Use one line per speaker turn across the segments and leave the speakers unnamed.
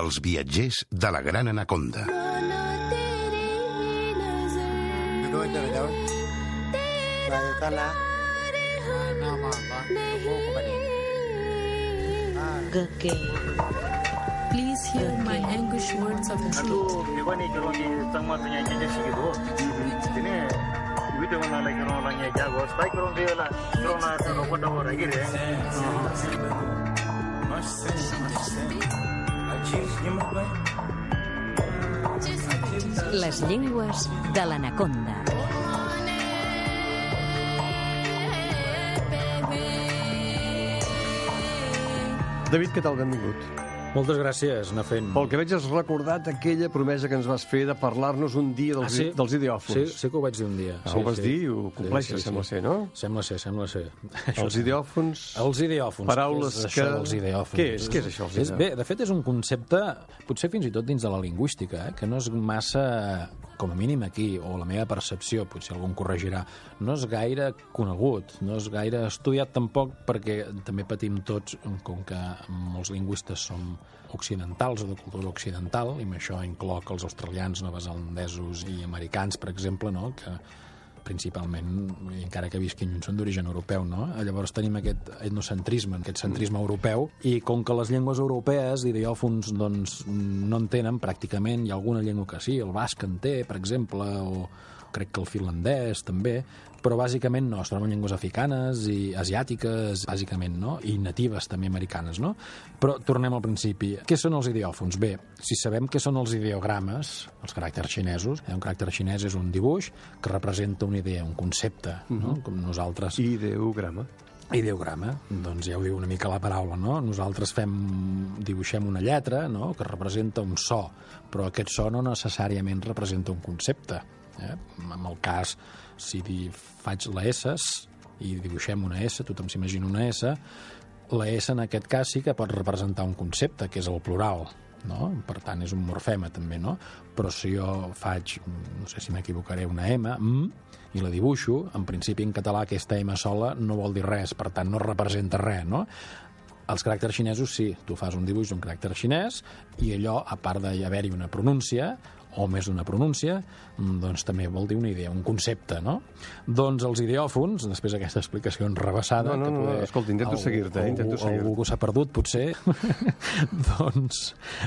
Els viatgers de la Gran Anaconda.
रोज लगाओ
Gake.
Please hear my anguish words of truth.
Iwani kero ni tsangma tsanya jaja shiki do. Tene video na la kero la nya jago. Stai kero de la kero na ta no kondo ora gire.
Les llengües de l'anaconda.
David, què tal? Benvingut.
Moltes gràcies, anar fent.
Pel que veig has recordat aquella promesa que ens vas fer de parlar-nos un dia dels, i- dels
Ah, Sí,
ideòfons.
sí que ho vaig dir un dia.
Ah,
sí,
ho vas
sí.
dir i ho compleixes, sembla ser, no?
Sembla ser, sembla ser. Això
Els ideòfons...
Els ideòfons.
Paraules
què és
que-
Això dels ideòfons?
Què és? Què és això, els
És, bé, de fet, és un concepte, potser fins i tot dins de la lingüística, eh, que no és massa, com a mínim aquí, o la meva percepció, potser algun corregirà, no és gaire conegut, no és gaire estudiat tampoc, perquè també patim tots, com que molts lingüistes som occidentals o de cultura occidental, i amb això incloc els australians, novezelandesos i americans, per exemple, no? que principalment, i encara que visquin lluny, són d'origen europeu, no? Llavors tenim aquest etnocentrisme, aquest centrisme europeu, i com que les llengües europees d'ideòfons doncs, no en tenen pràcticament, hi ha alguna llengua que sí, el basc en té, per exemple, o crec que el finlandès també, però bàsicament no, es troben llengües africanes i asiàtiques, bàsicament, no? I natives també americanes, no? Però tornem al principi. Què són els ideòfons? Bé, si sabem què són els ideogrames, els caràcters xinesos, eh, un caràcter xinès és un dibuix que representa una idea, un concepte, no? Com nosaltres
Ideograma.
Ideograma, doncs ja ho diu una mica la paraula, no? Nosaltres fem, dibuixem una lletra no? que representa un so, però aquest so no necessàriament representa un concepte. Eh? En el cas, si di, faig la S i dibuixem una S, tothom s'imagina una S, la S en aquest cas sí que pot representar un concepte, que és el plural, no? Per tant, és un morfema també, no? Però si jo faig, no sé si m'equivocaré, una M, mm, i la dibuixo, en principi en català aquesta M sola no vol dir res, per tant no representa res, no? Els caràcters xinesos sí, tu fas un dibuix d'un caràcter xinès i allò, a part d'haver-hi una pronúncia, o més d'una pronúncia, mm, doncs també vol dir una idea, un concepte, no? Doncs els ideòfons, després d'aquesta explicació enrebaçada...
No, no,
que
no,
poder
escolta, intento
algú-
seguir-te, eh, intento
algú-
seguir-te.
Algú s'ha perdut, potser. doncs,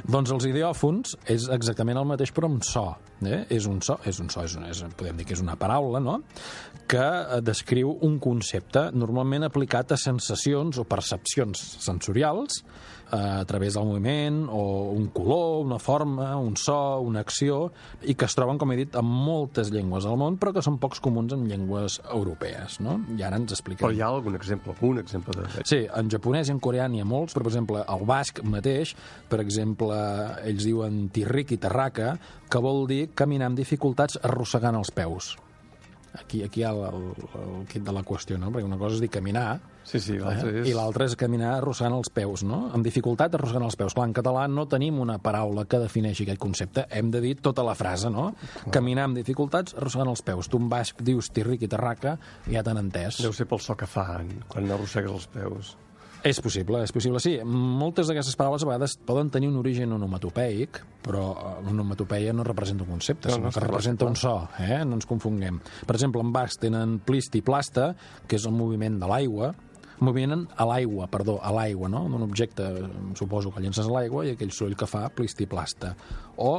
doncs els ideòfons és exactament el mateix, però amb so. Eh? És un so, és un so és, un, és, podem dir que és una paraula, no?, que eh, descriu un concepte normalment aplicat a sensacions o percepcions sensorials eh, a través del moviment o un color, una forma, un so, una acció, i que es troben, com he dit, en moltes llengües del món, però que són pocs comuns en llengües europees, no? I ara ens explicarem.
Però hi ha algun exemple, algun exemple de...
Sí, en japonès i en coreà n'hi ha molts, però, per exemple, el basc mateix, per exemple, ells diuen tirric i terraca, que vol dir caminar amb dificultats arrossegant els peus. Aquí, aquí hi ha el, el, el kit de la qüestió, no? Perquè una cosa és dir caminar,
Sí, sí, l'altre
eh?
és...
i l'altre és caminar arrossegant els peus, no? Amb dificultat arrossegant els peus. Clar, en català no tenim una paraula que defineixi aquest concepte, hem de dir tota la frase, no? Caminar amb dificultats arrossegant els peus. Tu en basc dius tirric i terraca, ja t'han entès.
Deu ser pel so que fan quan arrossegues els peus.
És possible, és possible, sí. Moltes d'aquestes paraules a vegades poden tenir un origen onomatopeic, però eh, l'onomatopeia no representa un concepte,
No,
no,
no,
sinó
està
que
clar,
representa un so, eh? no ens confonguem. Per exemple, en basc tenen plisti i plasta, que és el moviment de l'aigua, moviment a l'aigua, perdó, a l'aigua, no? D'un objecte, suposo que llences a l'aigua i aquell soroll que fa plisti i plasta. O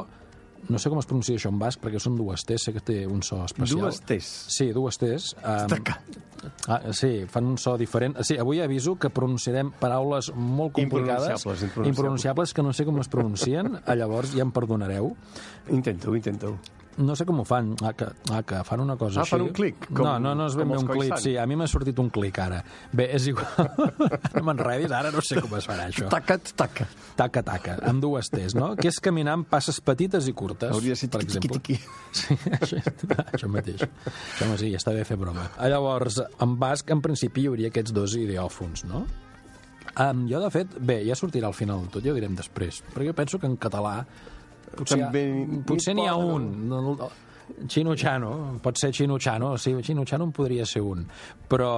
no sé com es pronuncia això en basc, perquè són dues T's, sé que té un so especial.
Dues T's.
Sí, dues T's. Um,
Taca.
Ah, sí, fan un so diferent. Sí, avui aviso que pronunciarem paraules molt complicades,
Impronunciables, impronunciables.
impronunciables, que no sé com es pronuncien, eh, llavors ja em perdonareu.
Intenta-ho, intenta-ho.
No sé com ho fan, ah, que, ah, que fan una cosa
Ah,
així.
fan un clic, com-
no, no, no és ben
com
bé
els
un clic,
Khoisan.
sí, a mi m'ha sortit un clic ara. Bé, és igual, no m'enredis, ara no sé com es farà això.
Taca't, taca.
Taca, taca, amb dues T's, no? Que és caminar amb passes petites i curtes,
Hauria de ser
per
tiqui,
exemple.
tiqui,
Sí, això, això mateix. Això, home, sí, està bé fer broma. Ah, Llavors, en basc, en principi, hi hauria aquests dos ideòfons, no? Um, jo, de fet, bé, ja sortirà al final de tot, ja ho direm després, perquè jo penso que en català potser,
També n'hi
potser n'hi ha
poden.
un. No, no, Chino Chano, pot ser Chino Chano, sí, Chino Chano en podria ser un, però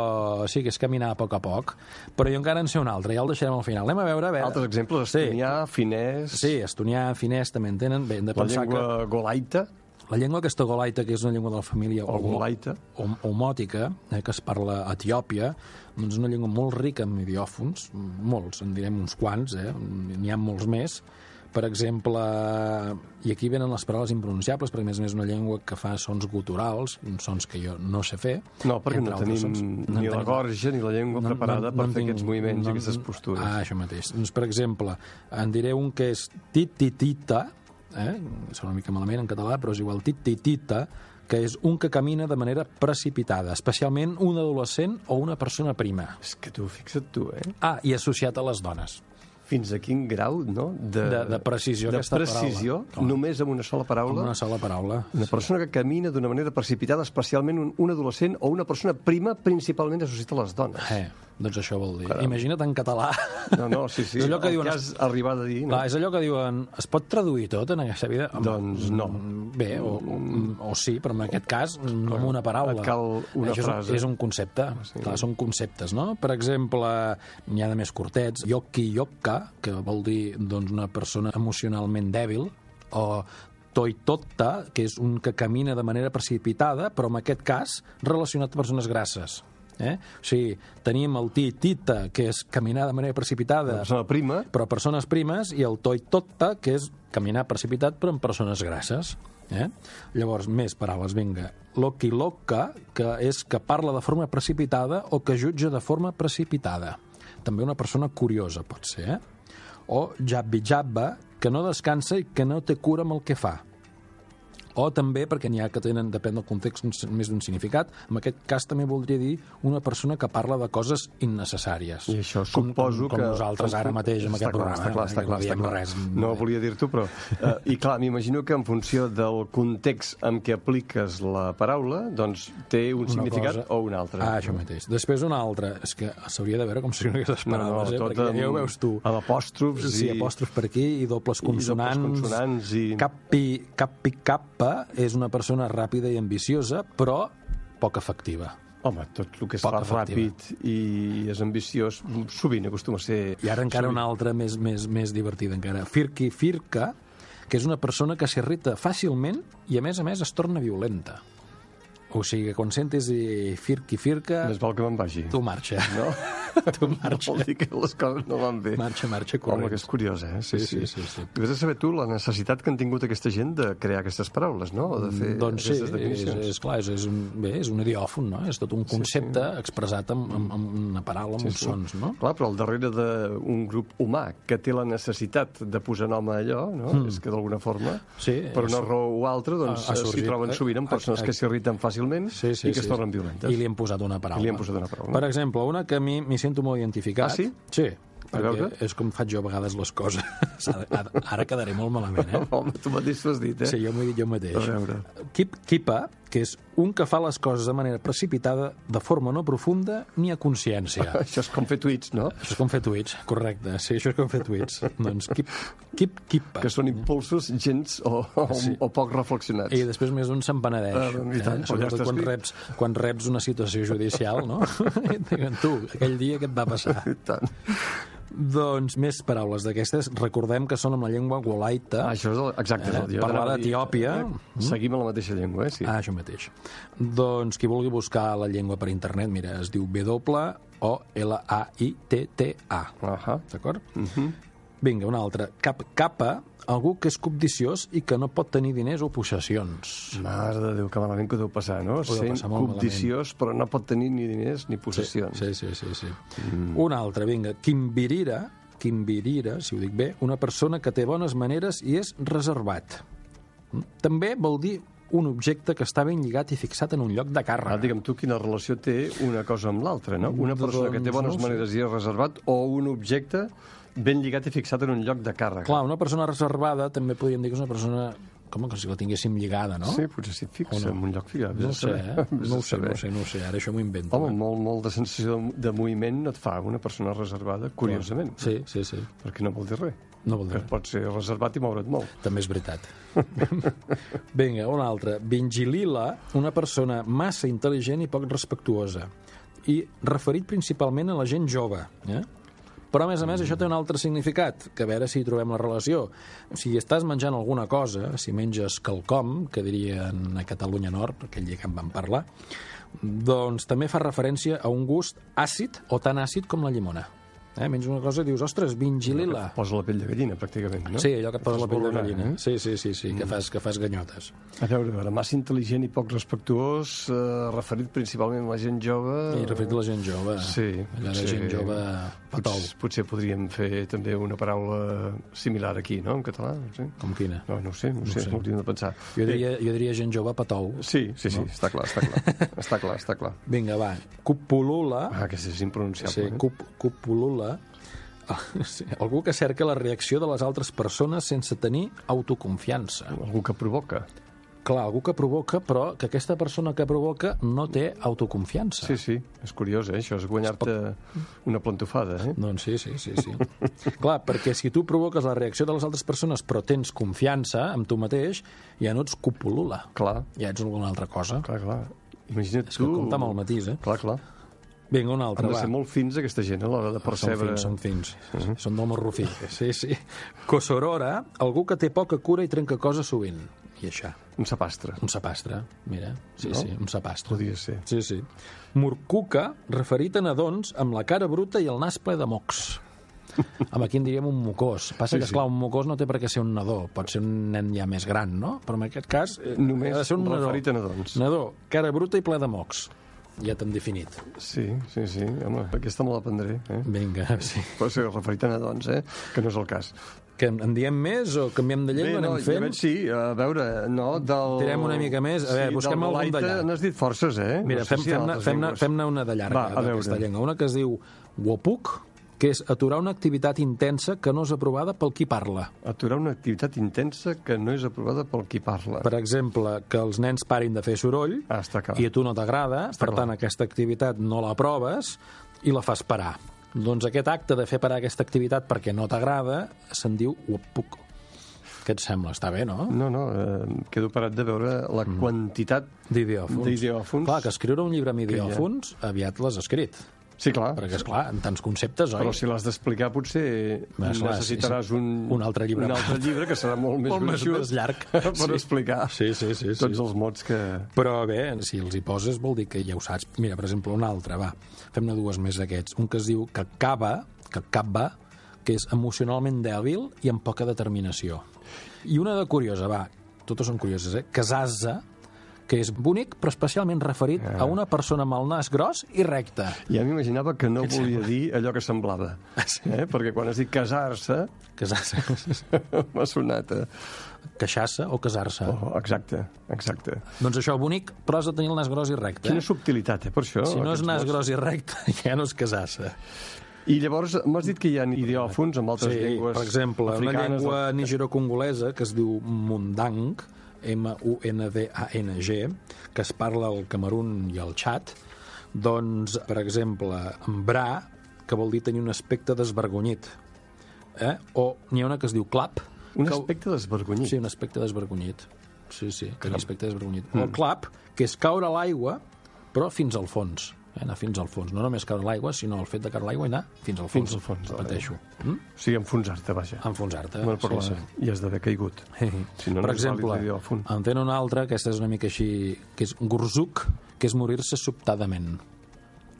sí que és caminar a poc a poc, però jo encara en sé un altre, ja el deixarem al final. Anem a veure... A veure.
Altres exemples, estonià, finès,
Sí, estonià, finès també en tenen, bé, hem de
la
pensar
llengua
que...
golaita,
La llengua aquesta golaita, que és una llengua de la família
o
homo-
golaita.
hom- homòtica, eh, que es parla a Etiòpia, doncs una llengua molt rica en idiòfons, molts, en direm uns quants, eh? n'hi ha molts més. Per exemple, i aquí venen les paraules impronunciables, perquè a més a més és una llengua que fa sons guturals, uns sons que jo no sé fer.
No, perquè no
entre
tenim
altres
ni
en
la gorja ni la llengua preparada per fer aquests moviments i aquestes postures.
Ah, això mateix. Doncs, per exemple, en diré un que és tititita, eh? sona una mica malament en català, però és igual, tititita, que és un que camina de manera precipitada, especialment un adolescent o una persona prima.
És que tu, fixa't tu, eh?
Ah, i associat a les dones.
Fins a quin grau, no? De,
De- de precisió
de
aquesta paraula.
precisió,
Home.
només amb una sola paraula.
Amb una sola paraula.
Una persona que camina d'una manera precipitada, especialment un, un adolescent o una persona prima, principalment associada a les dones.
Eh, doncs això vol dir. Imagina't en català.
No, no, sí, sí.
És allò que
el
diuen
que has arribat a dir, no?
Clar, és allò que diuen, es pot traduir tot en aquesta vida? Home,
Doncs no.
Bé, o, o, o sí, però en aquest cas no amb una paraula. Eh,
et cal una
Això és, un-
frase. Ah,
És un concepte, sí. clar, són conceptes, no? Per exemple, n'hi ha de més curtets, yokki yokka, que vol dir doncs, una persona emocionalment dèbil, o toitotta, que és un que camina de manera precipitada, però en aquest cas relacionat a persones grasses. Eh? O sigui, tenim el titita, que és caminar de manera precipitada,
Una persona prima,
però persones primes i el toi totta, que és caminar precipitat però amb persones grasses. Eh? Llavors, més paraules, vinga. Loki loca, que és que parla de forma precipitada o que jutja de forma precipitada. També una persona curiosa, pot ser, eh? O jabbi jabba, que no descansa i que no té cura amb el que fa. O també, perquè n'hi ha que tenen, depèn del context, un- més d'un significat, en aquest cas també voldria dir una persona que parla de coses innecessàries.
I això
com,
suposo
com, com
que...
nosaltres ara mateix amb
està
aquest programa.
Clar, està
eh,
clar,
que
està
no
clar,
diem
està clar.
res.
No volia dir-t'ho, però... Eh, I clar, m'imagino que en funció del context en què apliques la paraula, doncs té un
Una
significat
cosa-
o un altre.
Ah, això mateix. Després una altra. És que s'hauria de veure com serien aquestes
No, no,
paraules, eh?
tot
Perquè ja ho
amb-
veus tu.
amb apòstrofs
sí,
i-
apòstrofs per aquí i dobles consonants.
consonants i-
Capi, capi, cappa és una persona ràpida i ambiciosa, però poc efectiva.
Home, tot el que es
Poc
fa
efectiva.
ràpid i és ambiciós sovint acostuma a ser...
I ara encara una altra més, més, més divertida encara. Firki Firka, que és una persona que s'irrita fàcilment i, a més a més, es torna violenta. O sigui que quan sentis dir Firki Firka,
Més val que me'n vagi.
tu marxa.
No?
Tu marxa.
Vol dir que les coses no van bé.
Marxa, marxa,
Home, que
corrents.
és curiós, eh? Sí,
Sí,
sí.
sí, sí, sí.
I vés a saber tu la necessitat que han tingut aquesta gent de crear aquestes paraules, no? O de fer
Doncs sí,
aquestes
és,
definicions.
és clar, és, és, un, bé, és un idiòfon, no? És tot un concepte sí, sí. expressat amb, amb, amb una paraula, amb sí, uns sons, no?
Clar, però al darrere d'un grup humà que té la necessitat de posar nom a allò, no? Mm. és que d'alguna forma,
Sí,
per una
és-
raó o altra, doncs
ha
eh, s'hi
sorgit-
troben sovint amb
eh,
persones
eh,
que s'irriten fàcilment
Sí, sí,
i que
sí.
es tornen violentes.
I li han posat una paraula.
I li han posat una paraula.
Per exemple, una que a mi m'hi sento molt identificat.
Ah, sí?
Sí,
A
perquè
veure.
és com faig jo a vegades les coses. Ara ara quedaré molt malament, eh?
Home, tu mateix t'ho has dit, eh?
Sí, jo m'ho he dit jo mateix.
A veure.
Kip, kipa, que és un que fa les coses de manera precipitada, de forma no profunda ni a consciència.
Això és com fer tuits, no?
Això és com fer tuits, correcte. Sí, això és com fer tuits. doncs kip, kip, kipa.
Que són impulsos gens o, o, sí. o poc reflexionats.
I després més d'un se'n penedeix.
Ah, doncs, i tant, però ja
Sobretot
està
quan
escrit.
reps, quan reps una situació judicial, no? I et diuen, tu, aquell dia què et va passar?
I tant.
doncs més paraules d'aquestes. Recordem que són amb la llengua golaita.
Ah, això és el, exacte. és el
Eh,
dia.
parlar
Anava a dir,
d'Etiòpia. mm?
eh, Seguim amb la mateixa llengua, eh? Sí.
Ah, això mateix. Doncs qui vulgui buscar la llengua per internet, mira, es diu W-O-L-A-I-T-T-A.
Ahà.
D'acord? Uh -huh. Vinga, una altra. Cap capa, algú que és cobdiciós i que no pot tenir diners o possessions.
Mare de Déu, que malament que ho deu passar, no?
deu
Sent
passar molt
cobdiciós, però no pot tenir ni diners ni possessions.
Sí, sí, sí. sí. Mm. Una altra, vinga. Quimbirira, Quimbirira, si ho dic bé, una persona que té bones maneres i és reservat. Mm? També vol dir un objecte que està ben lligat i fixat en un lloc de
Ara,
càrrega.
digue'm tu quina relació té una cosa amb l'altra, no? Una persona que té
Doncs no
bones
ho sé.
maneres i és reservat o un objecte ben lligat i fixat en un lloc de càrrega.
Clar, una persona reservada també podríem dir que és una persona com que si la tinguéssim lligada, no?
Sí, potser si et fixa en un lloc ficat.
No ho sé, eh? No ho sé, no ho sé, no ho sé. Ara això m'ho invento.
Home, molt, molt de sensació de, de moviment et fa una persona reservada, curiosament.
Sí, sí, sí.
Perquè no vol dir res.
No vol dir
Que
res.
pot ser reservat i moure't molt.
També és veritat. Vinga, una altra. Vingilila, una persona massa intel·ligent i poc respectuosa. I referit principalment a la gent jove. Eh? Però, a més a més, això té un altre significat, que a veure si hi trobem la relació. Si estàs menjant alguna cosa, si menges quelcom, que dirien a Catalunya Nord, aquell dia que en vam parlar, doncs també fa referència a un gust àcid o tan àcid com la llimona. Eh? Menys una cosa i dius, ostres, vingilila.
Posa la pell de gallina, pràcticament, no?
Sí, allò que et posa
Fas
la pell de
bolonar,
gallina.
eh?
Sí, sí, sí, sí que, fas, que fas ganyotes.
A veure, a veure, massa intel·ligent i poc respectuós, eh, referit principalment a la gent jove...
I referit a la gent jove.
Sí,
Allò de
potser-
gent jove patou.
Potser, potser podríem fer també una paraula similar aquí, no?, en català. No sé.
Com quina?
No, no ho sé, no, ho sé, ho hauríem de pensar. Eh,
Jo diria, jo diria gent jove patou.
Sí, sí, sí, no. està clar, està clar. està clar, està clar.
Vinga, va. Cupulula.
Ah, que és impronunciable.
Sí,
eh?
cup, cupulula. Ah, Sí, algú que cerca la reacció de les altres persones sense tenir autoconfiança.
Algú que provoca.
Ah. Clar, algú que provoca, però que aquesta persona que provoca no té autoconfiança.
Sí, sí, és curiós, eh? Això és guanyar-te una plantofada, eh?
Doncs sí, sí, sí, sí. Clar, perquè si tu provoques la reacció de les altres persones però tens confiança en tu mateix, ja no ets cupulula.
Clar,
Ja ets alguna altra cosa.
clar, clar. Imagina't
És que
tu...
compta amb el matís, eh?
Clar, clar.
Vinga, una
Han
altra,
de
va. Ah,
ser molt fins, aquesta gent, a l'hora de
Són
percebre...
fins, són fins. Són del morro fi. Sí, sí. Cosorora, algú que té poca cura i trenca coses sovint. I això,
Un sapastre,
un sapastre, mira. Sí,
No?
sí, un sapastre.
podria ser.
Sí, sí. Murcuca, referit a nadons, amb la cara bruta i el nas ple de mocs. Amb aquí en diríem un mocós. Passa sí, que, esclar, un mocós no té per què ser un nadó. Pot ser un nen ja més gran, no? Però en aquest cas... eh,
Només
ha de ser un nadó.
referit a nadons.
Nadó, cara bruta i ple de mocs. Ja t'hem definit.
Sí, sí, sí. Home, aquesta me la prendré, eh?
Vinga, sí.
Pot ser referit a nadons, eh? Que no és el cas.
Que en en diem més o canviem de llengua?
no,
anem
ja
fent?
veig, sí, a veure, no, del...
Tirem una mica més. A veure,
sí,
busquem
del
algun
Malaita
d'allà.
N'has dit forces, eh?
Mira,
no sé
fem,
si hi ha
fem,
altres
fem,
llengües.
fem una de llarga,
Va, a
d'aquesta
veure.
llengua. Una que es diu Wopuc, que és aturar una activitat intensa que no és aprovada pel qui parla.
Aturar una activitat intensa que no és aprovada pel qui parla.
Per exemple, que els nens parin de fer soroll
Ah, està clar.
i a tu no t'agrada, per
clar.
tant, aquesta activitat no l'aproves i la fas parar. Doncs aquest acte de fer parar aquesta activitat perquè no t'agrada se'n diu Wopuc. Què et sembla? Està bé, no?
No, no, eh, quedo parat de veure la quantitat...
Mm. D'ideòfons.
D'ideòfons.
Clar, que escriure un llibre amb
hi ha.
idiòfons aviat l'has escrit.
Sí, clar.
Perquè, esclar, en tants conceptes, oi?
Però si l'has d'explicar, potser
Bé, clar, sí,
necessitaràs
sí.
un...
Un altre llibre.
Un altre llibre que serà molt més
Molt més-
gruixut
més llarg.
Per
Sí.
explicar
Sí, sí, sí, sí.
tots els mots que...
Però bé, si els hi poses vol dir que ja ho saps. Mira, per exemple, un altre, va. Fem-ne dues més d'aquests. Un que es diu que acaba, que acaba, que és emocionalment dèbil i amb poca determinació. I una de curiosa, va, totes són curioses, eh? Casasa, que és bonic, però especialment referit a una persona amb el nas gros i recte.
Ja m'imaginava que no volia dir allò que semblava.
Ah,
Eh? Perquè quan has dit casar-se,
Casasa.
m'ha sonat... Eh?
Queixar-se o casar-se. Oh.
Oh, exacte, exacte.
Doncs això, bonic, però has de tenir el nas gros i recte.
Quina subtilitat, eh, per això.
Si no és
aquests
nas
mots.
gros i recte, ja no és casar-se.
I llavors m'has dit que hi ha idiòfons amb altres
Sí,
llengües
per exemple, una
africanes, eh?
llengua nigerocongolesa que es diu mundang, M-U-N-D-A-N-G, que es parla al Camerun i al Txat, doncs, per exemple, bra, que vol dir tenir un aspecte desvergonyit, eh? o n'hi ha una que es diu clap,
Un
que...
aspecte desvergonyit.
Sí, un aspecte desvergonyit. Sí, sí, tenir aspecte desvergonyit. Mm. El clap, que és caure a l'aigua, però fins al fons. Eh? Anar fins al fons. No només caure a l'aigua, sinó el fet de caure a l'aigua i anar fins al fons.
Fins al fons de
Repeteixo.
O sigui, enfonsar-te, vaja.
Ah, Enfonsar-te.
Bueno, per sí, sí. I has d'haver caigut. Si no,
per
no és vàlid
exemple,
l'idiòfon.
en tenen una altra, aquesta és una mica així, que és gurzuc, que és morir-se sobtadament.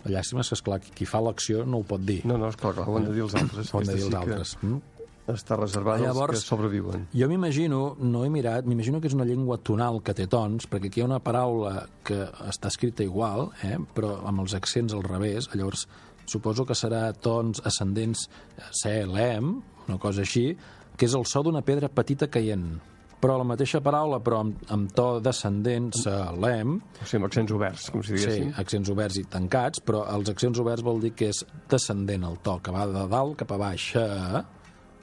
La llàstima és que, esclar, qui fa l'acció no ho pot dir.
No, no, esclar, clar, ho han de dir els altres.
ho han de dir els
Aquesta
altres.
sí
Mm?
Que està reservada
Llavors-
als que sobreviuen.
Jo m'imagino, no he mirat, m'imagino que és una llengua tonal que té tons, perquè aquí hi ha una paraula que està escrita igual, eh, però amb els accents al revés, llavors suposo que serà tons ascendents eh, CLM, una cosa així, que és el so d'una pedra petita caient. Però la mateixa paraula, però amb, amb to descendent, CLM,
O sigui, amb accents oberts, com si
sí,
diguéssim.
accents oberts i tancats, però els accents oberts vol dir que és descendent el to, que va de dalt cap a baix, eh,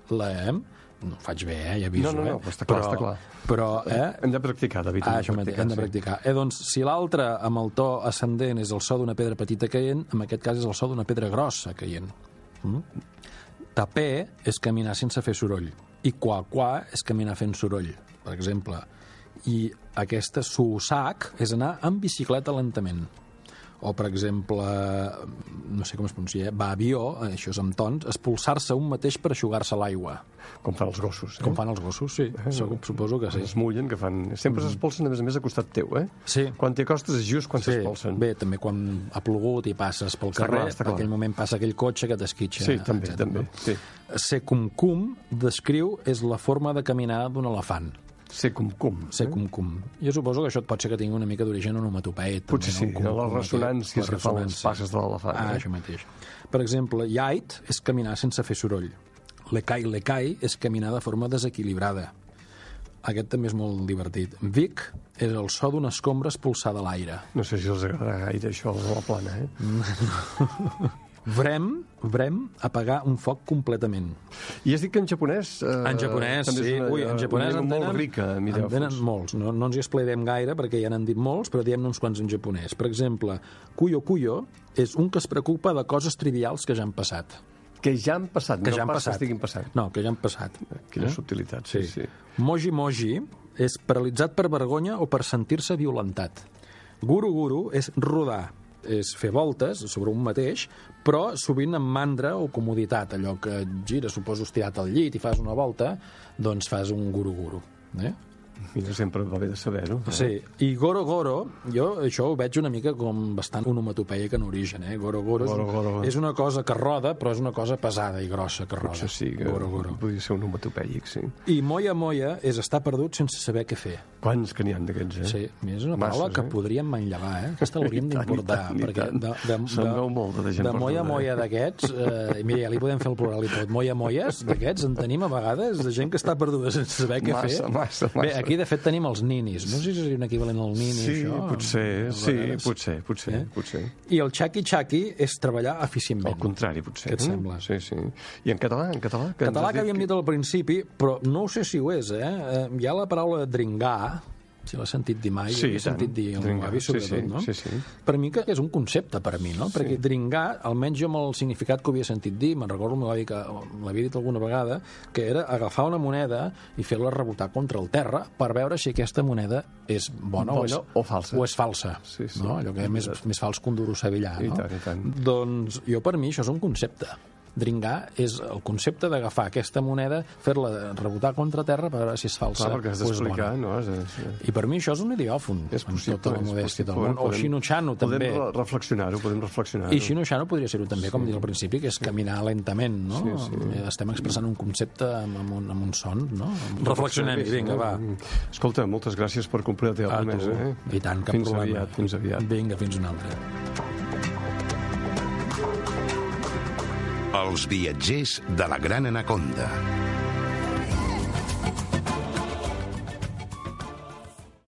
la M, No ho faig bé, eh? ja aviso.
No, no, no,
eh?
però està clar,
però,
està clar.
Però, eh?
Hem de practicar, David.
Ah, això mateix, hem de practicar. Eh, doncs, si l'altre, amb el to ascendent, és el so d'una pedra petita caient, en aquest cas és el so d'una pedra grossa caient. Mm? Tapé és caminar sense fer soroll, i qua-qua és caminar fent soroll, per exemple. I aquesta susac és anar amb bicicleta lentament. O, per exemple, no sé com es pronuncia, eh? babió, això és amb tons, expulsar-se un mateix per aixugar-se l'aigua,
practicar. Com fan els gossos. Eh?
com fan els gossos, sí, eh, segur- suposo que sí.
Es mullen, que fan... Sempre s'espolsen, a més a més, a costat teu, eh?
Mm. Sí.
Quan t'hi acostes és just quan s'espolsen.
Bé, també quan ha plogut i passes pel
Està
carrer,
clar, està
en
clar.
aquell moment passa aquell cotxe que t'esquitxa.
Sí, també,
etcètera,
també.
no?
Sí.
Ser cum-cum, descriu, és la forma de caminar d'un elefant.
Ser eh? com com.
Ser cum-cum. Jo suposo que això pot ser que tingui una mica d'origen onomatopeït. també,
Potser sí,
el cum-cum
les
aquest,
ressonàncies
les
que fan les
ressonàncies.
passes de l'elefant,
Ah,
eh?
això mateix. Per exemple, yait és caminar sense fer soroll. Lecai lecai és caminar de forma desequilibrada. Aquest també és molt divertit. Vic és el so d'una escombra expulsada a l'aire.
No sé si els agradarà gaire això als de la plana,
Mm.
eh?
Vrem, vrem, apagar un foc completament.
I has dit que en japonès... Eh,
En japonès,
també és eh,
sí. Ui, en japonès
llengua
en tenen,
molt rica, mireu.
en tenen molts. No, no ens hi esplairem gaire perquè ja n'han dit molts, però diem uns quants en japonès. Per exemple, Kuyo Kuyo és un que es preocupa de coses trivials que ja han passat.
Que ja han passat,
Que
no
ja han
pas
passat. Eh?
que estiguin passant.
No, que ja han passat.
Quina subtilitat, sí, sí.
Moji Moji és paralitzat per vergonya o per sentir-se violentat. Guru Guru és rodar, és fer voltes sobre un mateix, però sovint amb mandra o comoditat, allò que et gira, suposo, estirat al llit i fas una volta, doncs fas un guru guru. Eh?
Mira, sempre va bé de saber-ho. eh?
Sí, i Goro Goro, jo això ho veig una mica com bastant onomatopeic en origen, eh? Goro Goro, és,
Goro Goro.
és una cosa que roda, però és una cosa pesada i grossa que roda.
Això sí, que
Goro Goro.
podria ser un homatopèic, sí.
I moia moia és estar perdut sense saber què fer.
Quants que n'hi ha d'aquests, eh?
Sí, mira, és una paraula
Masses,
que
eh?
podríem manllevar, eh? Aquesta l'hauríem
I tant,
d'importar,
i tant, i
perquè
tant.
de, de,
Se'n veu molta de gent
de moia
perduda, eh?
moia d'aquests, eh, mira, ja li podem fer el plural i tot, moia moies d'aquests en tenim a vegades de gent que està perduda sense saber què
Massa,
fer.
massa,
Bé,
massa.
aquí de fet tenim els ninis, no sé si seria un equivalent al nini,
Sí,
això.
potser,
a
sí,
vegades.
potser, potser,
Eh?
potser.
I el xaqui-xaqui és treballar
Al
eficientment.
contrari, potser.
Què et
eh?
sembla?
Sí, sí. I en català, en català? Que ens
Català
has
que havíem dit al principi, però no ho sé si ho és, eh? Eh, Hi ha la paraula dringar, si l'has sentit dir mai,
Sí,
l'he
i tant.
sentit dir al meu
Dringar,
avi,
sí,
sobretot,
sí,
no?
sí, sí.
Per mi que és un concepte, per mi, no? Perquè dringar, almenys jo amb el significat que ho havia sentit dir, me'n recordo el meu avi que l'havia dit alguna vegada, que era agafar una moneda i fer-la rebotar contra el terra per veure si aquesta moneda és bona, o,
Bona
és,
o falsa.
O és falsa,
Sí, sí.
no? Allò que és més, més fals que un duro sevillà,
I
no?
tant, i tant.
Doncs jo per mi això és un concepte. Dringar és el concepte d'agafar aquesta moneda, fer-la rebotar contra terra per veure si és falsa
Clar, perquè has
o és
d'explicar,
bona.
no? Has de...
I per mi això és un idiòfon,
És possible,
amb tota la
és
modèstia del
possible.
món. O
Podem-
xino-xano, també.
Podem re- reflexionar-ho, podem reflexionar-ho.
I xino-xano podria ser-ho també, com dir al principi, que és caminar lentament, no? Sí, sí. Estem expressant un concepte amb, amb, un, amb un son, no? Reflexionem-hi, vinga, va.
Escolta, moltes gràcies per complir la teva
A Ah, tu.
promesa. Eh?
I tant, cap
fins
problema.
Aviat, fins aviat.
Vinga, fins una altra.
Els viatgers de la Gran Anaconda.